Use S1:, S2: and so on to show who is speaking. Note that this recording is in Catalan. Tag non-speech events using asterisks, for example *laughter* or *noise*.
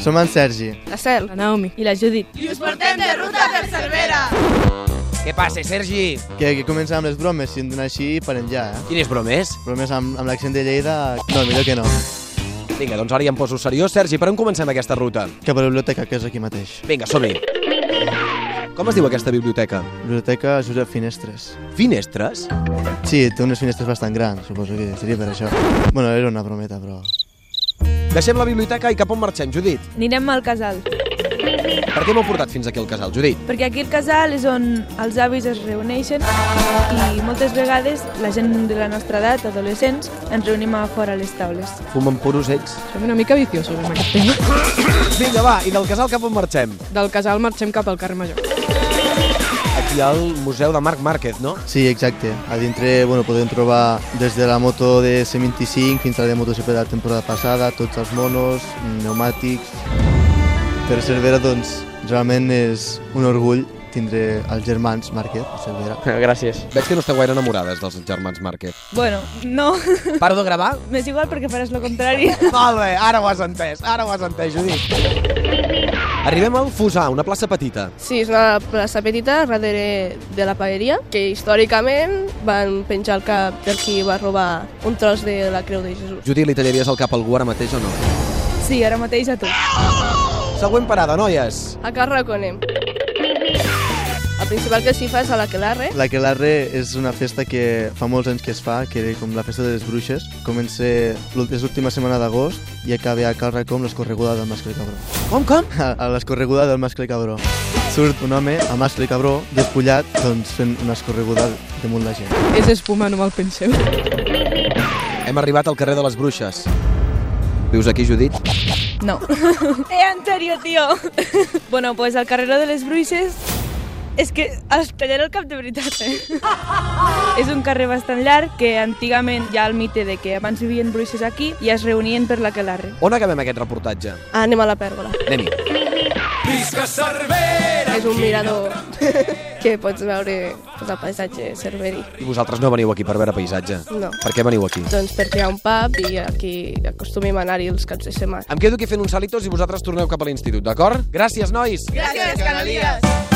S1: Som en Sergi.
S2: La Cel, la Naomi i la Judit.
S3: I us portem de ruta per Cervera!
S4: Què passa, Sergi?
S1: Que, que comença amb les bromes, si entren així parem ja, eh?
S4: Quines bromes?
S1: Bromes amb, amb l'accent de Lleida, no, millor que no.
S4: Vinga, doncs ara ja em poso seriós. Sergi, per on comencem aquesta ruta?
S1: Cap a la biblioteca, que és aquí mateix.
S4: Vinga, som-hi. Com es diu aquesta biblioteca?
S1: Biblioteca Josep Finestres.
S4: Finestres?
S1: Sí, té unes finestres bastant grans, suposo que seria per això. Bueno, era una brometa, però...
S4: Deixem la biblioteca i cap on marxem, Judit?
S2: Anirem al casal,
S4: Per què m'heu portat fins aquí al casal, Judit?
S2: perquè aquí el casal és on els avis es reuneixen i moltes vegades la gent de la nostra edat, adolescents, ens reunim a fora a les taules.
S4: Fumen puros ells.
S5: Som una mica viciosos amb aquest tema.
S4: Vinga, va, i del casal cap on marxem?
S5: Del casal marxem cap al carrer Major.
S4: Aquí al Museu de Marc Márquez, no?
S1: Sí, exacte. A dintre bueno, podem trobar des de la moto de C25 fins a la de MotoGP de la temporada passada, tots els monos, pneumàtics... Per Cervera, doncs, realment és un orgull tindre els germans Márquez a Cervera.
S6: Gràcies.
S4: Veig que no esteu gaire enamorades dels germans Márquez.
S2: Bueno, no, *laughs*
S4: Paro de gravar?
S2: m'és igual perquè faràs lo contrari.
S4: Molt bé, ara ho has entès, ara ho has entès, Judit. Arribem al Fusà, una plaça petita.
S7: Sí, és una plaça petita darrere de la paeria, que històricament van penjar el cap del qui va robar un tros de la creu de Jesús.
S4: Judit, li tallaries el cap a algú ara mateix o no?
S2: *laughs* Sí, ara mateix a tu.
S4: Següent parada, noies.
S7: A Carraconem. El principal que s'hi fa és a la Quelarre.
S1: La Quelarre és una festa que fa molts anys que es fa, que era com la festa de les bruixes. Comença l'últ- és l'última setmana d'agost i acaba a Calra com l'escorreguda del mascle cabró. *laughs*
S4: Com, com?
S1: A, a l'escorreguda del mascle cabró. Surt un home amb mascle cabró, despullat, doncs fent una escorreguda damunt la gent.
S5: És espuma, no me'l penseu.
S4: Hem arribat al carrer de les Bruixes. Vius aquí, Judit?
S2: *laughs* No. Eh, anterior, tio. *laughs* bueno, pues al carrer de les Bruixes és que els tallaré el cap de veritat, eh? *laughs* és un carrer bastant llarg que antigament hi ha el mite de que abans vivien bruixes aquí i es reunien per la Calarre.
S4: On acabem aquest reportatge?
S7: Ah, Anem a la pèrgola.
S4: Anem-hi.
S7: És un mirador *laughs* que pots veure pues, el paisatge cerveri.
S4: I vosaltres no veniu aquí per veure paisatge.
S7: No.
S4: Per què veniu aquí?
S7: Doncs perquè hi ha un pub i aquí acostumem a anar-hi els caps de setmana.
S4: Em quedo aquí fent uns salitos i vosaltres torneu cap a l'institut, d'acord? Gràcies, nois!
S3: Gràcies, Canalies!